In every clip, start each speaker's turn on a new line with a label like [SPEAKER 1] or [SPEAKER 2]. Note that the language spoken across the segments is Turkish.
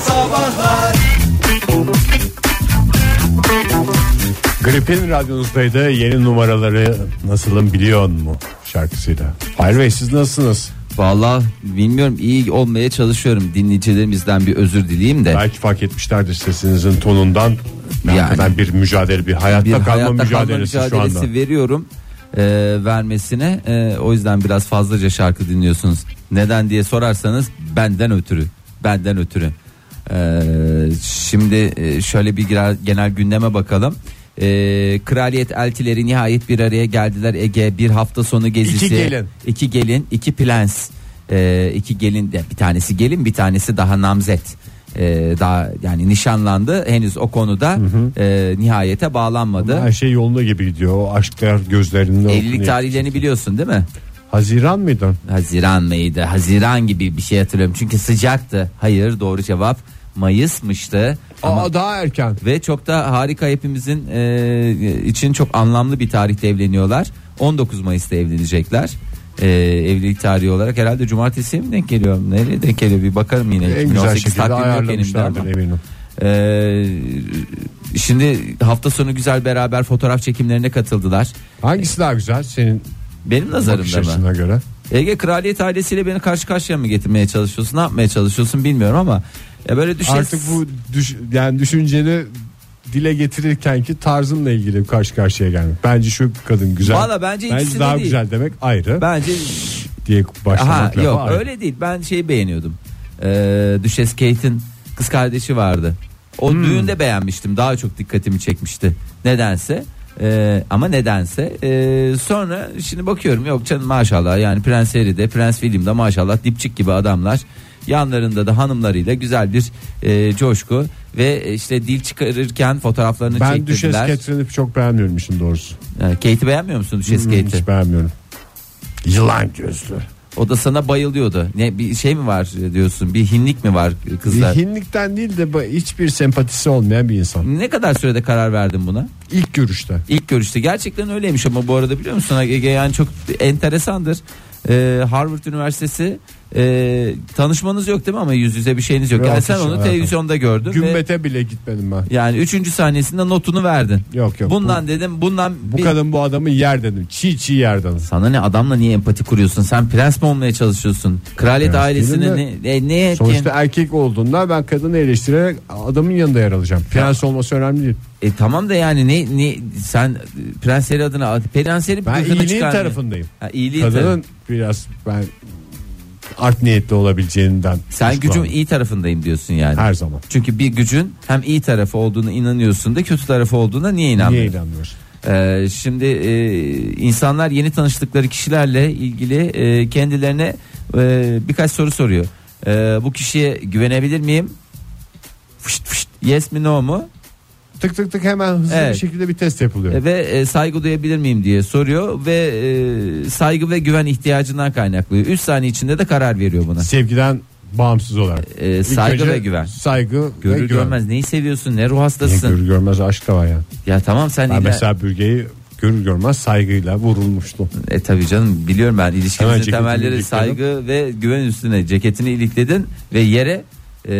[SPEAKER 1] Sabahlar
[SPEAKER 2] Grip'in radyonuzdaydı yeni numaraları nasılım biliyor mu şarkısıyla. Fahir Bey siz nasılsınız?
[SPEAKER 3] Vallahi bilmiyorum iyi olmaya çalışıyorum. Dinleyicilerimizden bir özür dileyim de.
[SPEAKER 2] Belki fark etmişlerdir sesinizin tonundan. Ne
[SPEAKER 3] Yani.
[SPEAKER 2] kadar bir mücadele bir hayatta,
[SPEAKER 3] Bir
[SPEAKER 2] kalma,
[SPEAKER 3] hayatta
[SPEAKER 2] mücadelesi
[SPEAKER 3] kalma mücadelesi
[SPEAKER 2] şu anda.
[SPEAKER 3] veriyorum e, vermesine. E, o yüzden biraz fazlaca şarkı dinliyorsunuz. Neden diye sorarsanız benden ötürü. Benden ötürü. E, şimdi e, şöyle bir gira- genel gündeme bakalım. E, kraliyet eltileri nihayet bir araya geldiler Ege bir hafta sonu gezisi
[SPEAKER 2] İki gelin.
[SPEAKER 3] iki gelin iki plens Ee, iki gelin de bir tanesi gelin bir tanesi daha namzet Ee, daha yani nişanlandı henüz o konuda e, nihayete bağlanmadı
[SPEAKER 2] Her şey yolunda gibi gidiyor. O aşklar gözlerinde
[SPEAKER 3] evlilik
[SPEAKER 2] okunuyor.
[SPEAKER 3] tarihlerini biliyorsun değil mi
[SPEAKER 2] Haziran mıydı?
[SPEAKER 3] Haziran mıydı Haziran gibi bir şey hatırlıyorum çünkü sıcaktı hayır doğru cevap Mayıs'mıştı Ama-
[SPEAKER 2] Aa daha erken.
[SPEAKER 3] ve çok da harika hepimizin e, için çok anlamlı bir tarihte evleniyorlar. 19 Mayıs'ta evlenecekler. E, evlilik tarihi olarak herhalde cumartesiye mi denk geliyor? Nereye denk geliyor bir bakarım yine.
[SPEAKER 2] En
[SPEAKER 3] 2018
[SPEAKER 2] güzel şekilde
[SPEAKER 3] takvimi yok elimde
[SPEAKER 2] ayarlamışlardır
[SPEAKER 3] ama.
[SPEAKER 2] eminim.
[SPEAKER 3] E, şimdi hafta sonu güzel beraber fotoğraf çekimlerine katıldılar.
[SPEAKER 2] Hangisi daha güzel senin
[SPEAKER 3] Benim
[SPEAKER 2] bakış
[SPEAKER 3] nazarımda mı?
[SPEAKER 2] açına göre?
[SPEAKER 3] Ege kraliyet ailesiyle beni karşı karşıya mı getirmeye çalışıyorsun? Ne yapmaya çalışıyorsun bilmiyorum ama ya böyle düşes...
[SPEAKER 2] Artık bu düş, yani düşünceni dile getirirken ki tarzınla ilgili karşı karşıya gelmek. Bence şu kadın güzel.
[SPEAKER 3] Valla bence ikisi de
[SPEAKER 2] daha
[SPEAKER 3] değil.
[SPEAKER 2] güzel demek ayrı
[SPEAKER 3] Bence
[SPEAKER 2] diye
[SPEAKER 3] Aha,
[SPEAKER 2] başlamak
[SPEAKER 3] yok
[SPEAKER 2] ayrı.
[SPEAKER 3] öyle değil. Ben şeyi beğeniyordum. Ee, Düşes Kate'in kız kardeşi vardı. O
[SPEAKER 2] Hmm.
[SPEAKER 3] düğünde beğenmiştim. Daha çok dikkatimi çekmişti. Nedense. Ee, ama nedense Ee, sonra şimdi bakıyorum yok canım maşallah yani Prens Harry'de Prens William'da maşallah dipçik gibi adamlar yanlarında da hanımlarıyla güzel bir e, coşku ve e, işte dil çıkarırken fotoğraflarını
[SPEAKER 2] Ben Düşes
[SPEAKER 3] çektirdiler.
[SPEAKER 2] Catherine'i çok beğenmiyorum işin doğrusu.
[SPEAKER 3] Ee, Kate'i beğenmiyor musun Düşes
[SPEAKER 2] Hmm,
[SPEAKER 3] Kate'i?
[SPEAKER 2] Hiç beğenmiyorum. Yılan gözlü.
[SPEAKER 3] O da sana bayılıyordu. Ne bir şey mi var diyorsun? Bir hinlik mi var kızlar? Hmm.
[SPEAKER 2] Zihinlikten değil de bu- hiçbir sempatisi olmayan bir insan.
[SPEAKER 3] Ne kadar sürede karar verdin buna?
[SPEAKER 2] İlk görüşte.
[SPEAKER 3] İlk görüşte gerçekten öyleymiş ama bu arada biliyor musun Ege yani çok enteresandır. Ee, Harvard Üniversitesi e, tanışmanız yok değil mi ama yüz yüze bir şeyiniz yok.
[SPEAKER 2] Yok,
[SPEAKER 3] Yani sen
[SPEAKER 2] hiç
[SPEAKER 3] onu
[SPEAKER 2] alakam.
[SPEAKER 3] televizyonda gördün ve
[SPEAKER 2] Gümbete bile gitmedim ben.
[SPEAKER 3] yani üçüncü sahnesinde notunu verdin.
[SPEAKER 2] Yok yok.
[SPEAKER 3] bundan dedim bundan
[SPEAKER 2] bu, bu
[SPEAKER 3] bir-
[SPEAKER 2] kadın bu adamı yer dedim. Çiğ çiğ yerden.
[SPEAKER 3] sana ne adamla niye empati kuruyorsun? Sen prens mi olmaya çalışıyorsun? Kraliyet
[SPEAKER 2] Prens
[SPEAKER 3] ailesini ne,
[SPEAKER 2] değilim
[SPEAKER 3] ne, neye-
[SPEAKER 2] Sonuçta erkek olduğunda ben kadını eleştirerek adamın yanında yer alacağım. Prens olması önemli değil.
[SPEAKER 3] E tamam da yani ne ne sen e, Prens Harry adına Prens Harry
[SPEAKER 2] Ben
[SPEAKER 3] gıkını
[SPEAKER 2] iyiliğin
[SPEAKER 3] çıkarmıyor.
[SPEAKER 2] tarafındayım.
[SPEAKER 3] Ha, iyiliğin tarafı.
[SPEAKER 2] Kadının biraz ben art niyetli olabileceğinden.
[SPEAKER 3] Sen gücün
[SPEAKER 2] kuşkulandım.
[SPEAKER 3] iyi tarafındayım diyorsun yani.
[SPEAKER 2] Her zaman.
[SPEAKER 3] Çünkü bir gücün hem iyi tarafı olduğuna inanıyorsun da kötü tarafı olduğuna niye
[SPEAKER 2] Niye
[SPEAKER 3] inanmıyorsun?
[SPEAKER 2] inanmıyorsun?
[SPEAKER 3] Ee, şimdi e, insanlar yeni tanıştıkları kişilerle ilgili e, kendilerine e, birkaç soru soruyor. E, bu kişiye güvenebilir miyim? Fışt fışt, yes mi no mu?
[SPEAKER 2] Tık tık tık hemen hızlı
[SPEAKER 3] Evet.
[SPEAKER 2] bir şekilde bir test yapılıyor.
[SPEAKER 3] E, ve e, saygı duyabilir miyim diye soruyor ve e, saygı ve güven ihtiyacından kaynaklıyor. 3 saniye içinde de karar veriyor buna.
[SPEAKER 2] Sevgiden bağımsız olarak.
[SPEAKER 3] E,
[SPEAKER 2] İlk
[SPEAKER 3] saygı
[SPEAKER 2] önce
[SPEAKER 3] ve güven.
[SPEAKER 2] Saygı
[SPEAKER 3] Görür
[SPEAKER 2] ve güven.
[SPEAKER 3] görmez neyi seviyorsun ne ruh
[SPEAKER 2] Niye
[SPEAKER 3] hastasısın.
[SPEAKER 2] görür görmez aşk da var yani.
[SPEAKER 3] Ya tamam sen
[SPEAKER 2] Ben
[SPEAKER 3] illa-
[SPEAKER 2] mesela bürgeyi görür görmez saygıyla vurulmuştum.
[SPEAKER 3] E tabii canım biliyorum ben
[SPEAKER 2] Hemen
[SPEAKER 3] ilişkimizin
[SPEAKER 2] ceketimi
[SPEAKER 3] temelleri
[SPEAKER 2] ilikledim.
[SPEAKER 3] saygı ve güven üstüne ceketini ilikledin ve yere e,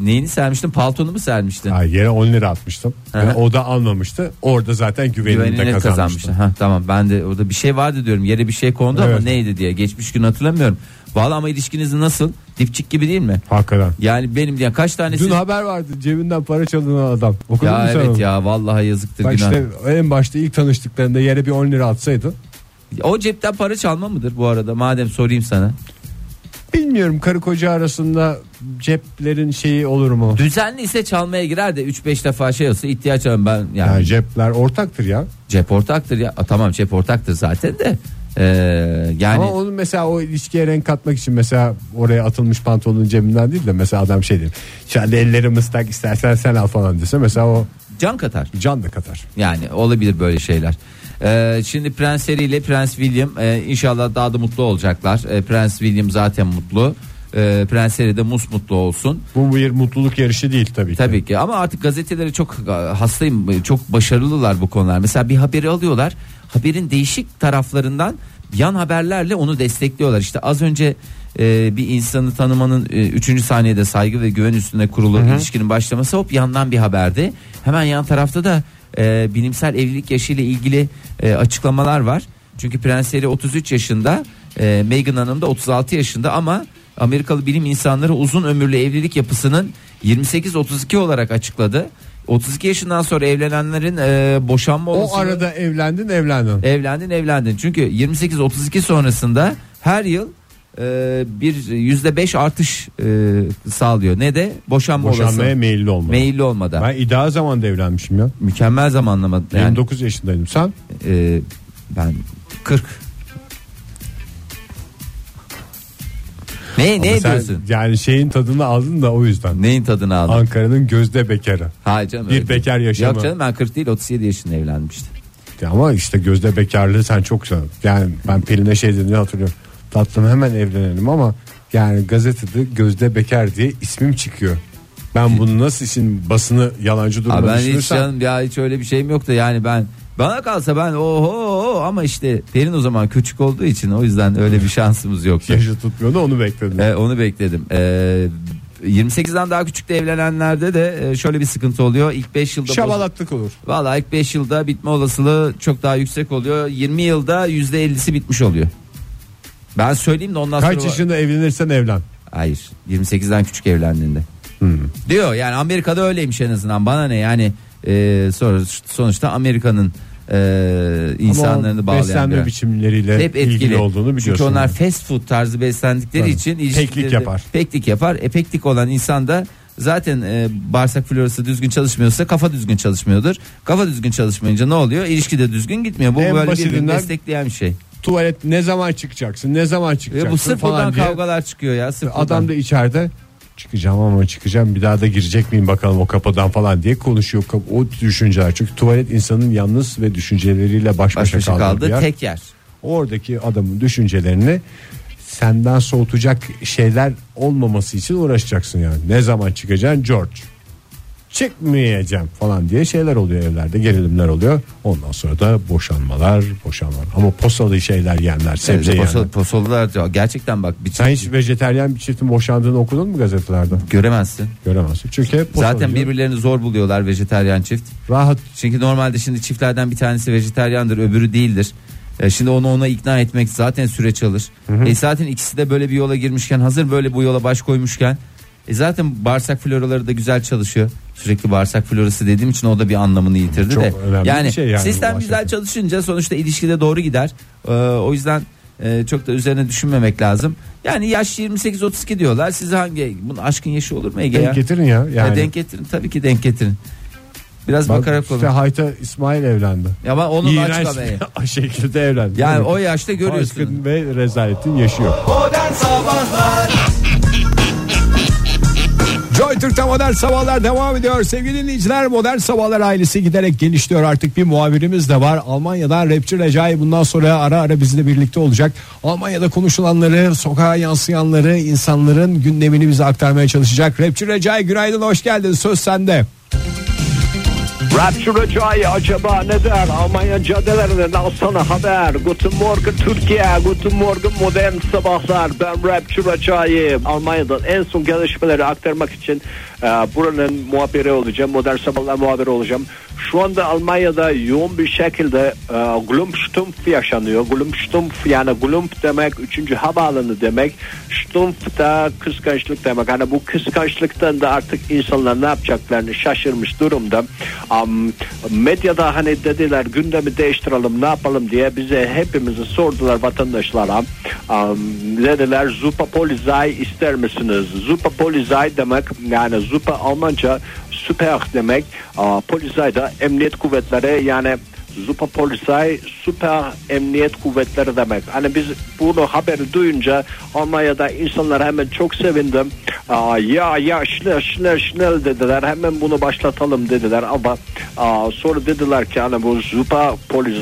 [SPEAKER 3] neyini sermiştin paltonu mu sermiştin?
[SPEAKER 2] Ha, yere 10 lira atmıştım.
[SPEAKER 3] Hı hı.
[SPEAKER 2] Ve o da almamıştı. Orada zaten güvenini, de
[SPEAKER 3] Güvenini kazanmıştın.
[SPEAKER 2] kazanmıştım.
[SPEAKER 3] Ha, tamam ben de orada bir şey vardı diyorum yere bir şey kondu ama
[SPEAKER 2] Evet.
[SPEAKER 3] neydi diye geçmiş gün hatırlamıyorum. Valla ama ilişkiniz nasıl? Dipçik gibi değil mi?
[SPEAKER 2] Hakikaten.
[SPEAKER 3] Yani benim diye kaç tanesi
[SPEAKER 2] Dün haber vardı cebinden para çalınan adam. Okudun mu
[SPEAKER 3] E, ya
[SPEAKER 2] sen
[SPEAKER 3] evet
[SPEAKER 2] onu?
[SPEAKER 3] ya vallahi yazıktır
[SPEAKER 2] Bak
[SPEAKER 3] günah.
[SPEAKER 2] işte en başta ilk tanıştıklarında yere bir 10 lira atsaydın.
[SPEAKER 3] O cepten para çalma mıdır bu arada? Madem sorayım sana.
[SPEAKER 2] Bilmiyorum karı koca arasında ceplerin şeyi olur mu?
[SPEAKER 3] Düzenli ise çalmaya girer de 3-5 defa şey olsa ihtiyaç alın ben yani,
[SPEAKER 2] Yani cepler ortaktır ya.
[SPEAKER 3] cep ortaktır ya. A, tamam cep ortaktır zaten de. Ee, yani
[SPEAKER 2] Ama onun mesela o ilişkiye renk katmak için mesela oraya atılmış pantolonun cebinden değil de mesela adam şey diyor. Şimdi ellerim ıslak istersen sen al falan dese mesela o
[SPEAKER 3] can katar.
[SPEAKER 2] can da katar.
[SPEAKER 3] Yani olabilir böyle şeyler. Ee, şimdi Prens Harry ile Prens William e, inşallah daha da mutlu olacaklar. E, Prens William zaten mutlu. E, Prens Harry de mus mutlu olsun.
[SPEAKER 2] Bu bir mutluluk yarışı değil tabii ki.
[SPEAKER 3] Tabii ki ama artık gazetelere çok e, hastayım. Çok başarılılar bu konular. Mesela bir haberi alıyorlar. Haberin değişik taraflarından yan haberlerle onu destekliyorlar. İşte az önce e, bir insanı tanımanın e, üçüncü saniyede saygı ve güven üstüne kurulu ilişkinin başlaması hop yandan bir haberdi. Hemen yan tarafta da e, bilimsel evlilik yaşıyla ilgili e, açıklamalar var. Çünkü Prens Harry 33 yaşında, e, Meghan Hanım da 36 yaşında ama Amerikalı bilim insanları uzun ömürlü evlilik yapısının 28-32 olarak açıkladı. 32 yaşından sonra evlenenlerin e, boşanma
[SPEAKER 2] O
[SPEAKER 3] olasılığı
[SPEAKER 2] arada evlendin evlendin.
[SPEAKER 3] Evlendin evlendin. Çünkü 28-32 sonrasında her yıl e, bir yüzde beş artış e, sağlıyor. Ne de boşanma
[SPEAKER 2] Boşanmaya
[SPEAKER 3] olasılığı.
[SPEAKER 2] meyilli olma.
[SPEAKER 3] Meyilli olmadan.
[SPEAKER 2] Ben ideal zamanda evlenmişim ya.
[SPEAKER 3] Mükemmel zamanlama. Yani,
[SPEAKER 2] 29 yaşındaydım. Sen
[SPEAKER 3] e, ben 40. Ne, ne
[SPEAKER 2] Ama sen
[SPEAKER 3] diyorsun?
[SPEAKER 2] Yani şeyin tadını aldın da o yüzden.
[SPEAKER 3] Neyin tadını aldın?
[SPEAKER 2] Ankara'nın gözde bekarı.
[SPEAKER 3] Hayır canım,
[SPEAKER 2] Bir
[SPEAKER 3] öyle değil.
[SPEAKER 2] bekar yaşamı.
[SPEAKER 3] Yok canım ben 40 değil 37 yaşında evlenmiştim.
[SPEAKER 2] Ya Ama işte gözde bekarlığı sen çok sen. Yani ben Pelin'e şey dediğini hatırlıyorum. Tatlım hemen evlenelim ama yani gazetede gözde bekar diye ismim çıkıyor. Ben bunu nasıl işin basını yalancı
[SPEAKER 3] Abi
[SPEAKER 2] duruma
[SPEAKER 3] ben hiç
[SPEAKER 2] düşünürsem
[SPEAKER 3] canım ya hiç öyle bir şeyim yoktu yani ben bana kalsa ben oho ama işte Perin o zaman küçük olduğu için o yüzden öyle bir şansımız yoktu.
[SPEAKER 2] yaşı tutmuyor da onu bekledim.
[SPEAKER 3] Ee, onu bekledim. Ee, 28'den daha küçükte evlenenlerde de e, şöyle bir sıkıntı oluyor. İlk 5 yılda
[SPEAKER 2] Şabalaklık olur.
[SPEAKER 3] Valla ilk 5 yılda bitme olasılığı çok daha yüksek oluyor. 20 yılda %50'si bitmiş oluyor. Ben söyleyeyim de ondan sonra
[SPEAKER 2] Kaç yaşında evlenirsen evlen.
[SPEAKER 3] Hayır. 28'den küçük evlendiğinde.
[SPEAKER 2] Hmm.
[SPEAKER 3] Diyor yani Amerika'da öyleymiş en azından. Bana ne yani e, sonra sonuçta Amerika'nın e, insanlarını
[SPEAKER 2] Ama
[SPEAKER 3] bağlayan
[SPEAKER 2] beslenme
[SPEAKER 3] bir-
[SPEAKER 2] biçimleriyle
[SPEAKER 3] hep
[SPEAKER 2] ilgili
[SPEAKER 3] etkili
[SPEAKER 2] olduğunu biliyorsun.
[SPEAKER 3] Çünkü onlar fast food tarzı beslendikleri
[SPEAKER 2] Tabii.
[SPEAKER 3] için
[SPEAKER 2] Peklik
[SPEAKER 3] ilişkileri de-
[SPEAKER 2] yapar.
[SPEAKER 3] Peklik yapar. E peklik olan insan da zaten e, bağırsak florası düzgün çalışmıyorsa kafa düzgün çalışmıyordur. Kafa düzgün çalışmayınca ne oluyor? İlişki de düzgün gitmiyor. Bu
[SPEAKER 2] En
[SPEAKER 3] böyle birbirini
[SPEAKER 2] basitinden-
[SPEAKER 3] destekleyen bir şey.
[SPEAKER 2] tuvalet ne zaman çıkacaksın ne zaman çıkacaksın
[SPEAKER 3] Ve E, bu sırf
[SPEAKER 2] falan
[SPEAKER 3] buradan
[SPEAKER 2] diye.
[SPEAKER 3] kavgalar çıkıyor ya. Sırf buradan.
[SPEAKER 2] Adam da içeride çıkacağım ama çıkacağım bir daha da girecek miyim bakalım o kapıdan falan diye konuşuyor Kap- o düşünceler. Çünkü tuvalet insanın yalnız ve düşünceleriyle baş
[SPEAKER 3] baş
[SPEAKER 2] başa,
[SPEAKER 3] başa
[SPEAKER 2] kaldığı şey bir
[SPEAKER 3] şey kaldı
[SPEAKER 2] yer.
[SPEAKER 3] tek yer.
[SPEAKER 2] Oradaki adamın düşüncelerini senden soğutacak şeyler olmaması için uğraşacaksın yani. Ne zaman çıkacaksın George? Çıkmayacağım falan diye şeyler oluyor evlerde gerilimler oluyor. Ondan sonra da boşanmalar boşanmalar ama posalı şeyler yerler sebze
[SPEAKER 3] Evet,
[SPEAKER 2] yerler.
[SPEAKER 3] posol- posollar diyor. gerçekten bak bir
[SPEAKER 2] Sen hiç vejeteryan bir çiftin boşandığını okudun mu gazetelerde?
[SPEAKER 3] göremezsin.
[SPEAKER 2] Göremezsin. Çünkü hep posalı
[SPEAKER 3] Zaten
[SPEAKER 2] diyor.
[SPEAKER 3] birbirlerini zor buluyorlar vejetaryen çift.
[SPEAKER 2] rahat
[SPEAKER 3] Çünkü normalde şimdi çiftlerden bir tanesi vejetaryandır öbürü değildir. E şimdi onu ona ikna etmek zaten süreç alır. E zaten ikisi de böyle bir yola girmişken hazır böyle bu yola baş koymuşken e zaten bağırsak floraları da güzel çalışıyor. Sürekli bağırsak florası dediğim için o da bir anlamını yitirdi
[SPEAKER 2] Çok
[SPEAKER 3] de.
[SPEAKER 2] önemli bir
[SPEAKER 3] Yani,
[SPEAKER 2] şey yani
[SPEAKER 3] sistem
[SPEAKER 2] bu
[SPEAKER 3] güzel
[SPEAKER 2] aşağıda.
[SPEAKER 3] çalışınca sonuçta ilişkide doğru gider. Ee, o yüzden e, çok da üzerine düşünmemek lazım. Yani yaş 28-32 diyorlar. Size hangi bunun aşkın yaşı olur mu Ege ya?
[SPEAKER 2] denk getirin ya.
[SPEAKER 3] Ya
[SPEAKER 2] Yani.
[SPEAKER 3] denk getirin tabii ki denk getirin. Biraz
[SPEAKER 2] Bak,
[SPEAKER 3] bakarak olur.
[SPEAKER 2] işte Hayta İsmail evlendi.
[SPEAKER 3] Ama onun
[SPEAKER 2] İğrenç
[SPEAKER 3] açıklamayı.
[SPEAKER 2] bir şekilde evlendi.
[SPEAKER 3] Yani
[SPEAKER 2] Değil mi?
[SPEAKER 3] o yaşta görüyorsun.
[SPEAKER 2] Aşkın ve rezaletin yaşıyor. Joy Türk'te modern sabahlar devam ediyor. Sevgili dinleyiciler modern sabahlar ailesi giderek genişliyor. Artık bir muhabirimiz de var. Almanya'dan rapçi Recai bundan sonra ara ara bizle birlikte olacak. Almanya'da konuşulanları, sokağa yansıyanları, insanların gündemini bize aktarmaya çalışacak. Rapçi Recai günaydın hoş geldin söz sende.
[SPEAKER 1] Rapçi Recai acaba ne der? Almanya caddelerinden alsana haber. Guten Morgen Türkiye, Guten Morgen modern sabahlar. Ben Rapçi Recai. Almanya'dan en son gelişmeleri aktarmak için e, buranın muhabiri olacağım. Modern sabahlar muhabiri olacağım. Şu anda Almanya'da yoğun bir şekilde e, Glumstumpf yaşanıyor. Glumstumpf yani Glump demek 3. havaalanı demek. Stumpf da kıskançlık demek. Hani bu kıskançlıktan da artık insanlar ne yapacaklarını şaşırmış durumda. Am, medyada hani dediler gündemi değiştirelim ne yapalım diye bize hepimizi sordular vatandaşlara. Am, dediler Zupa Polizei ister misiniz? Zupa Polizei demek yani Zupa Almanca süper demek. Aa, Polizei de emniyet kuvvetleri yani Zupa Polizei Süper Emniyet Kuvvetleri demek. Hani biz bunu haberi duyunca Almanya'da insanlar hemen çok sevindim. Aa, ya ya şnell şnell şnell dediler. Hemen bunu başlatalım dediler ama aa, sonra dediler ki hani bu Zupa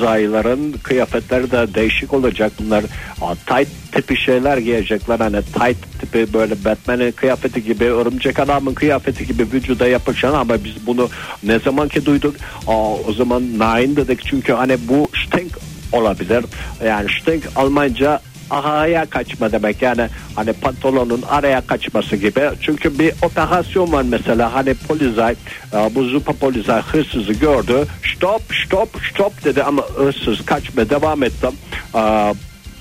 [SPEAKER 1] Polizei'ların kıyafetleri de değişik olacak. Bunlar aa, tight tipi şeyler giyecekler. Hani tight tipi böyle Batman'in kıyafeti gibi örümcek adamın kıyafeti gibi vücuda yapışan ama biz bunu ne zaman ki duyduk aa, o zaman nine dedik çünkü hani bu Stink olabilir. Yani Stink Almanca araya kaçma demek yani hani pantolonun araya kaçması gibi çünkü bir operasyon var mesela hani polizay e, bu zupa polizay hırsızı gördü stop stop stop dedi ama hırsız kaçma devam etti E,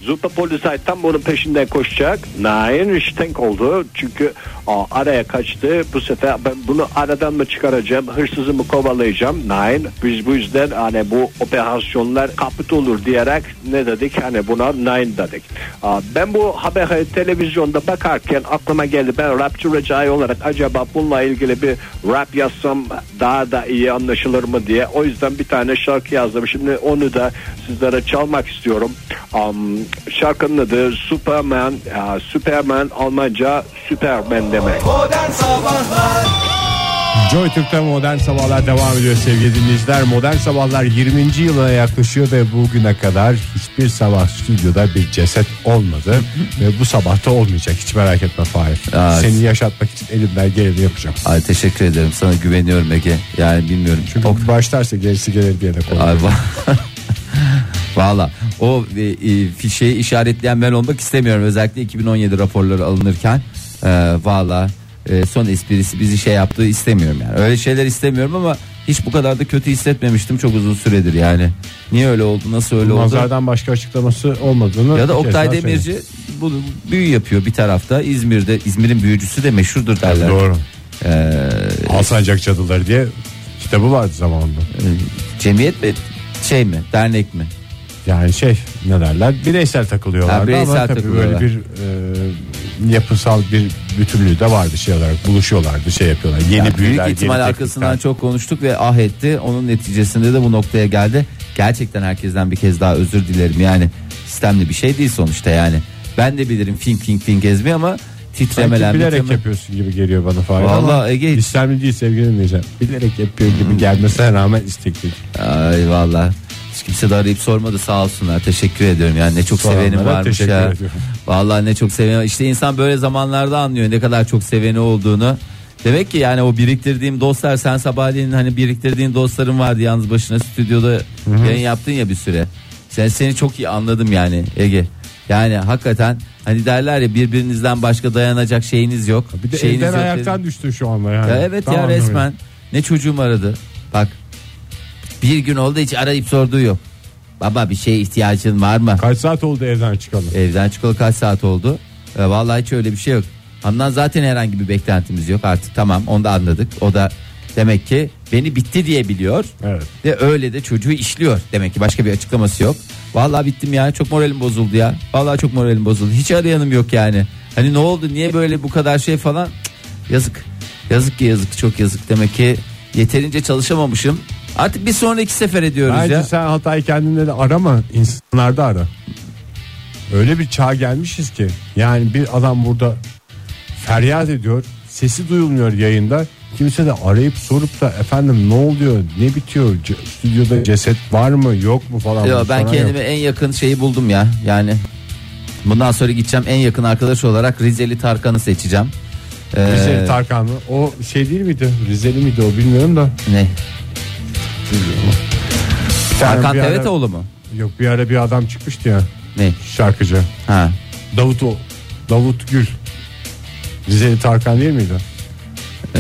[SPEAKER 1] Zupa polizay tam bunun peşinden koşacak. Nein Stink oldu. Çünkü a, araya kaçtı. Bu sefer ben bunu aradan mı çıkaracağım? Hırsızı mı kovalayacağım? Nein. Biz bu yüzden hani bu operasyonlar kaput olur diyerek ne dedik? Hani buna nein dedik. A, ben bu haberi televizyonda bakarken aklıma geldi. Ben rapçi recai olarak acaba bununla ilgili bir rap yazsam daha da iyi anlaşılır mı diye. O yüzden bir tane şarkı yazdım. Şimdi onu da sizlere çalmak istiyorum. Am, şarkının adı Superman. Ya, Superman Almanca Superman demek.
[SPEAKER 4] Modern Sabahlar
[SPEAKER 2] Joy Türk'te modern sabahlar devam ediyor sevgili dinleyiciler. Modern sabahlar 20. yıla yaklaşıyor ve bugüne kadar hiçbir sabah stüdyoda bir ceset olmadı. ve bu sabah da olmayacak hiç merak etme Fahir.
[SPEAKER 3] Aa,
[SPEAKER 2] Seni yaşatmak için elimden geleni yapacağım.
[SPEAKER 3] Ay teşekkür ederim sana güveniyorum Ege. Yani bilmiyorum.
[SPEAKER 2] Çünkü
[SPEAKER 3] O-
[SPEAKER 2] başlarsa gerisi gelir diye de
[SPEAKER 3] Ay
[SPEAKER 2] korkuyorum.
[SPEAKER 3] va- Valla o e, e, fişeyi işaretleyen ben olmak istemiyorum. Özellikle 2017 raporları alınırken e, valla e, son esprisi bizi şey yaptığı istemiyorum yani. Öyle şeyler istemiyorum ama hiç bu kadar da kötü hissetmemiştim çok uzun süredir yani. Niye öyle oldu nasıl öyle oldu?
[SPEAKER 2] Manzardan başka açıklaması olmadığını
[SPEAKER 3] Ya da
[SPEAKER 2] bir kez
[SPEAKER 3] Oktay
[SPEAKER 2] daha söyleyeyim.
[SPEAKER 3] Demirci bunu büyü yapıyor bir tarafta İzmir'de İzmir'in büyücüsü de meşhurdur derler.
[SPEAKER 2] Doğru.
[SPEAKER 3] Ee,
[SPEAKER 2] Alsancak Cadıları diye kitabı vardı zamanında.
[SPEAKER 3] cemiyet mi şey mi dernek mi?
[SPEAKER 2] Yani şey ne derler bireysel takılıyorlardı
[SPEAKER 3] Ha, bireysel
[SPEAKER 2] ama tabii
[SPEAKER 3] takılıyorlar.
[SPEAKER 2] böyle bir e, yapısal bir bütünlüğü de vardı şey olarak buluşuyorlardı şey yapıyorlar yeni
[SPEAKER 3] Yani
[SPEAKER 2] büyüler.
[SPEAKER 3] büyük
[SPEAKER 2] yeni
[SPEAKER 3] ihtimal
[SPEAKER 2] teknikler.
[SPEAKER 3] arkasından çok konuştuk ve ah etti. Onun neticesinde de bu noktaya geldi. Gerçekten herkesten bir kez daha özür dilerim. Yani sistemli bir şey değil sonuçta yani. Ben de bilirim fink fink fink gezmeyi ama
[SPEAKER 2] Sanki
[SPEAKER 3] titremeler
[SPEAKER 2] bilerek
[SPEAKER 3] mitreme-
[SPEAKER 2] yapıyorsun gibi geliyor bana Fahri ama
[SPEAKER 3] Vallahi Ege Hmm.
[SPEAKER 2] İslamcı değil sevgili dinleyiciler. Bilerek yapıyor gibi gelmesine rağmen istekli.
[SPEAKER 3] ay valla hiç kimse de arayıp sormadı sağ olsunlar teşekkür ediyorum yani ne çok
[SPEAKER 2] Soranlara
[SPEAKER 3] sevenim varmış
[SPEAKER 2] teşekkür
[SPEAKER 3] ya
[SPEAKER 2] ediyorum.
[SPEAKER 3] valla ne çok seveni işte insan böyle zamanlarda anlıyor ne kadar çok seveni olduğunu demek ki yani o biriktirdiğim dostlar sen sabahleyin hani biriktirdiğin dostların vardı yalnız başına stüdyoda yayın yaptın ya bir süre sen seni çok iyi anladım yani Ege yani hakikaten hani derler ya birbirinizden başka dayanacak şeyiniz yok
[SPEAKER 2] Bir de
[SPEAKER 3] şeyiniz
[SPEAKER 2] elden
[SPEAKER 3] yok
[SPEAKER 2] ayaktan düştü şu anda yani.
[SPEAKER 3] ya evet
[SPEAKER 2] Tam
[SPEAKER 3] ya
[SPEAKER 2] anlamıyla.
[SPEAKER 3] resmen. Ne çocuğum aradı. Bak. Bir gün oldu hiç arayıp sorduğu yok. Baba bir şeye ihtiyacın var mı?
[SPEAKER 2] Kaç saat oldu evden çıkalı?
[SPEAKER 3] Evden çıkalı kaç saat oldu? E, vallahi hiç öyle bir şey yok. Handan zaten herhangi bir beklentimiz yok artık tamam onu da anladık. O da demek ki beni bitti diye biliyor.
[SPEAKER 2] Evet.
[SPEAKER 3] Ve öyle de çocuğu işliyor demek ki başka bir açıklaması yok. Vallahi bittim ya çok moralim bozuldu ya. Vallahi çok moralim bozuldu. Hiç arayanım yok yani. Hani ne oldu niye böyle bu kadar şey falan. Cık, Yazık. Yazık ki yazık çok yazık demek ki yeterince çalışamamışım. Artık bir sonraki sefer ediyoruz
[SPEAKER 2] Bence
[SPEAKER 3] ya.
[SPEAKER 2] sen hatayı kendinde de arama insanlarda ara. Öyle bir çağa gelmişiz ki yani bir adam burada feryat ediyor sesi duyulmuyor yayında kimse de arayıp sorup da efendim ne oluyor ne bitiyor C- stüdyoda ceset var mı yok mu falan.
[SPEAKER 3] Yo, ben
[SPEAKER 2] Soran
[SPEAKER 3] kendime
[SPEAKER 2] yok.
[SPEAKER 3] en yakın şeyi buldum ya. Yani bundan sonra gideceğim en yakın arkadaş olarak Rizeli Tarkan'ı seçeceğim. Ee,
[SPEAKER 2] Rizeli Tarkan mı? O şey değil miydi? Rizeli miydi o bilmiyorum da.
[SPEAKER 3] ne?
[SPEAKER 2] Bir tane
[SPEAKER 3] Tarkan
[SPEAKER 2] bir ara-
[SPEAKER 3] Tevetoğlu mu?
[SPEAKER 2] Yok bir ara bir adam çıkmıştı ya
[SPEAKER 3] Ne?
[SPEAKER 2] şarkıcı.
[SPEAKER 3] Ha.
[SPEAKER 2] Davut o. Davut Gül. Rizeli Tarkan değil miydi?
[SPEAKER 3] Ee,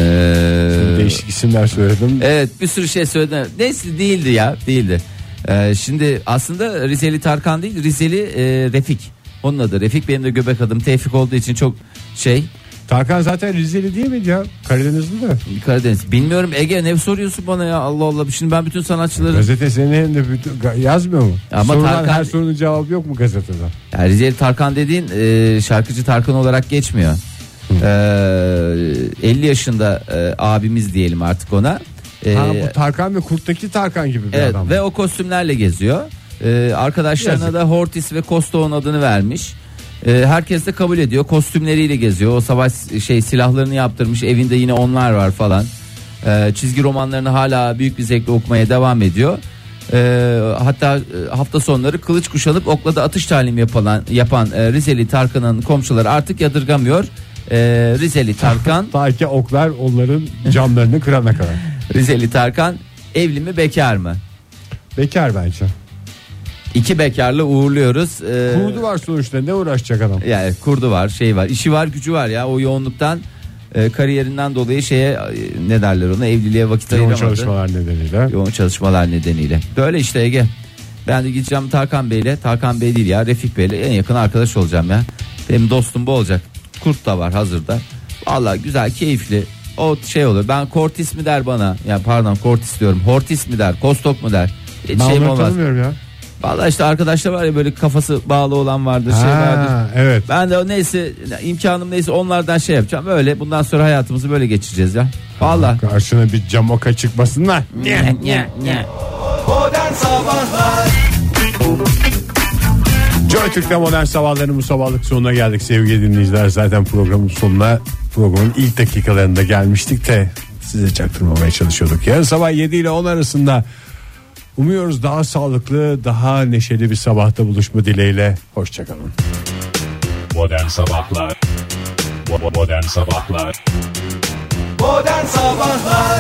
[SPEAKER 2] Değişik isimler söyledim.
[SPEAKER 3] Evet bir sürü şey söyledim. Neyse değildi ya değildi. Ee, şimdi aslında Rizeli Tarkan değil Rizeli e, Refik. Onun adı Refik benim de göbek adım Tevfik olduğu için çok şey
[SPEAKER 2] Tarkan zaten Rizeli değil miydi ya? Karadenizli de.
[SPEAKER 3] Karadeniz. Bilmiyorum Ege ne soruyorsun bana ya Allah Allah. Şimdi ben bütün sanatçıları
[SPEAKER 2] Gazete senin elinde bütün- ga- yazmıyor mu?
[SPEAKER 3] Ama
[SPEAKER 2] Ama Sorulan
[SPEAKER 3] Tarkan-
[SPEAKER 2] her sorunun cevabı yok mu gazetede?
[SPEAKER 3] Yani Rizeli Tarkan dediğin e, şarkıcı Tarkan olarak geçmiyor. Ee, 50 yaşında e, abimiz diyelim artık ona. Ee,
[SPEAKER 2] ha, bu Tarkan ve Kurt'taki Tarkan gibi bir
[SPEAKER 3] Evet
[SPEAKER 2] adam.
[SPEAKER 3] ve o kostümlerle geziyor. Ee, arkadaşlarına
[SPEAKER 2] Yazık.
[SPEAKER 3] da Hortis ve Kosto'nun adını vermiş. Ee, herkes de kabul ediyor. Kostümleriyle geziyor. O savaş şey silahlarını yaptırmış. Evinde yine onlar var falan. Ee, çizgi romanlarını hala büyük bir zevkle okumaya devam ediyor. Ee, hatta e, hafta sonları kılıç kuşanıp okla da atış talimi yapılan, yapan e, Rizeli Tarkan'ın komşuları artık yadırgamıyor. Ee, Rizeli Tarkan
[SPEAKER 2] Ta ki oklar onların camlarını kırana kadar.
[SPEAKER 3] Rizeli Tarkan evli mi bekar mı?
[SPEAKER 2] Bekar bence.
[SPEAKER 3] İki bekarla uğurluyoruz. Ee, e,
[SPEAKER 2] Kurdu var sonuçta ne uğraşacak adam?
[SPEAKER 3] Yani kurdu var, şey var, işi var, gücü var ya o yoğunluktan e, kariyerinden dolayı şeye e, ne derler ona evliliğe vakit
[SPEAKER 2] Yoğun
[SPEAKER 3] ayıramadı.
[SPEAKER 2] çalışmalar nedeniyle.
[SPEAKER 3] Yoğun çalışmalar nedeniyle. Böyle işte Ege. Ben de gideceğim Tarkan Bey'le. Tarkan Bey değil ya Refik Bey'le en yakın arkadaş olacağım ya. Benim dostum bu olacak. Kurt da var hazırda. Valla güzel keyifli. O şey olur. Ben Kortis mi der bana? Yani pardon Kortis diyorum. Hortis mi der? Kostok mu der? Hiç
[SPEAKER 2] Ben
[SPEAKER 3] şeyim
[SPEAKER 2] onları
[SPEAKER 3] olmaz.
[SPEAKER 2] tanımıyorum ya.
[SPEAKER 3] Valla işte arkadaşlar var ya böyle kafası bağlı olan vardır. Şey vardır.
[SPEAKER 2] Ha, evet.
[SPEAKER 3] Ben de neyse imkanım neyse onlardan şey yapacağım. Böyle bundan sonra hayatımızı böyle geçireceğiz ya. Valla.
[SPEAKER 2] Karşına bir camoka çıkmasınlar.
[SPEAKER 4] Modern Sabahlar
[SPEAKER 2] Joy Türk'te modern sabahların bu sabahlık sonuna geldik sevgili dinleyiciler. Zaten programın sonuna programın ilk dakikalarında gelmiştik de size çaktırmamaya çalışıyorduk. Yarın sabah 7 ile 10 arasında umuyoruz daha sağlıklı daha neşeli bir sabahta buluşma dileğiyle. Hoşçakalın.
[SPEAKER 5] Modern Sabahlar Bo- bo- Modern Sabahlar
[SPEAKER 4] Modern Sabahlar